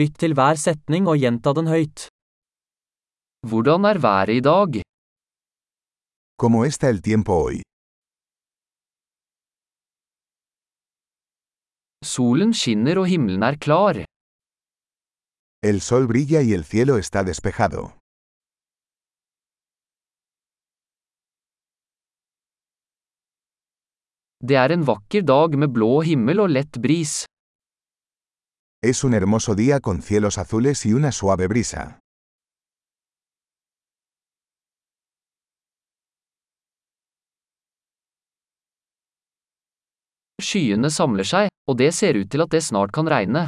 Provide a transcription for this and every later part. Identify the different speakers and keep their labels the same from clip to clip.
Speaker 1: Lytt til hver setning og gjenta den høyt.
Speaker 2: Hvordan er været i dag?
Speaker 3: ¿Cómo está el tiempo hoy?
Speaker 2: Solen skinner og himmelen er klar.
Speaker 3: El sol brilla y el cielo está despejado.
Speaker 2: Det er en vakker dag med blå himmel og lett bris.
Speaker 3: Es un hermoso día con cielos azules y una suave brisa.
Speaker 2: Skyene samler seg, og det ser ut til at det snart kan regne.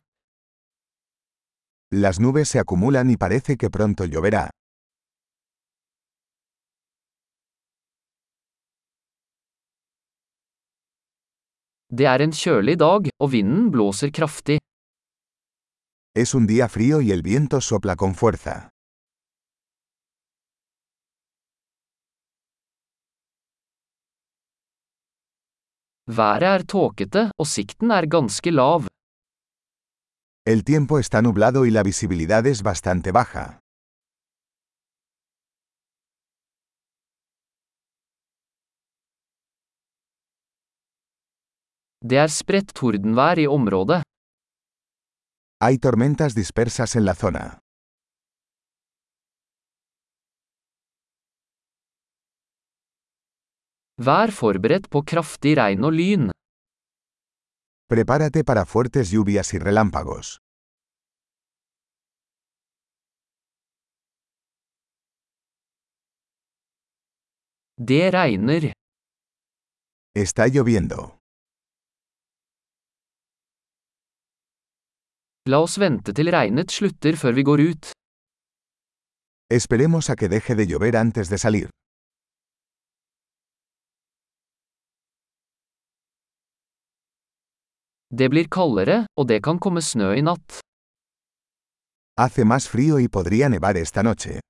Speaker 3: Las nubes se acumulan y parece que pronto lloverá.
Speaker 2: Det er en kjølig dag, og vinden blåser kraftig.
Speaker 3: Es un día frío y el viento sopla con fuerza.
Speaker 2: Været er tåkete, og sikten er ganske lav.
Speaker 3: El tiempo está nublado y la visibilidad es bastante baja.
Speaker 2: Det er spredt tordenvær i området.
Speaker 3: Hay tormentas dispersas en la zona.
Speaker 2: Vær forberedt på kraftig regn og lyn.
Speaker 3: Prepárate para fuertes lluvias y relámpagos.
Speaker 2: Det regner.
Speaker 3: Está lloviendo.
Speaker 2: La oss vente til regnet slutter før vi går ut.
Speaker 3: Esperemos a que deje de llover antes de salir.
Speaker 2: Det blir kaldere, og det kan komme snø i natt.
Speaker 3: Hace más frío y podría nevar esta noche.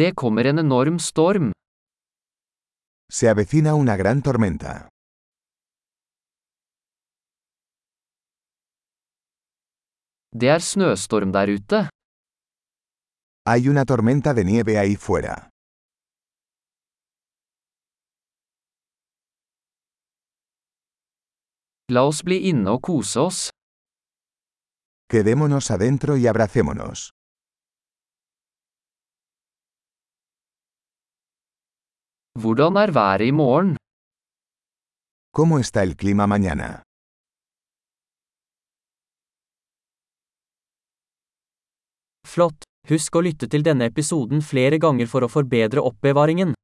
Speaker 2: Det kommer en enorm storm.
Speaker 3: Se avecina una gran tormenta.
Speaker 2: Det er snøstorm der ute.
Speaker 3: Hay una tormenta de nieve ahí fuera.
Speaker 2: La oss bli inne og kose oss.
Speaker 3: Quedémonos adentro y abracémonos.
Speaker 2: Hvordan er været i morgen?
Speaker 3: ¿Cómo está el clima mañana?
Speaker 1: Flott! Husk å lytte til denne episoden flere ganger for å forbedre oppbevaringen.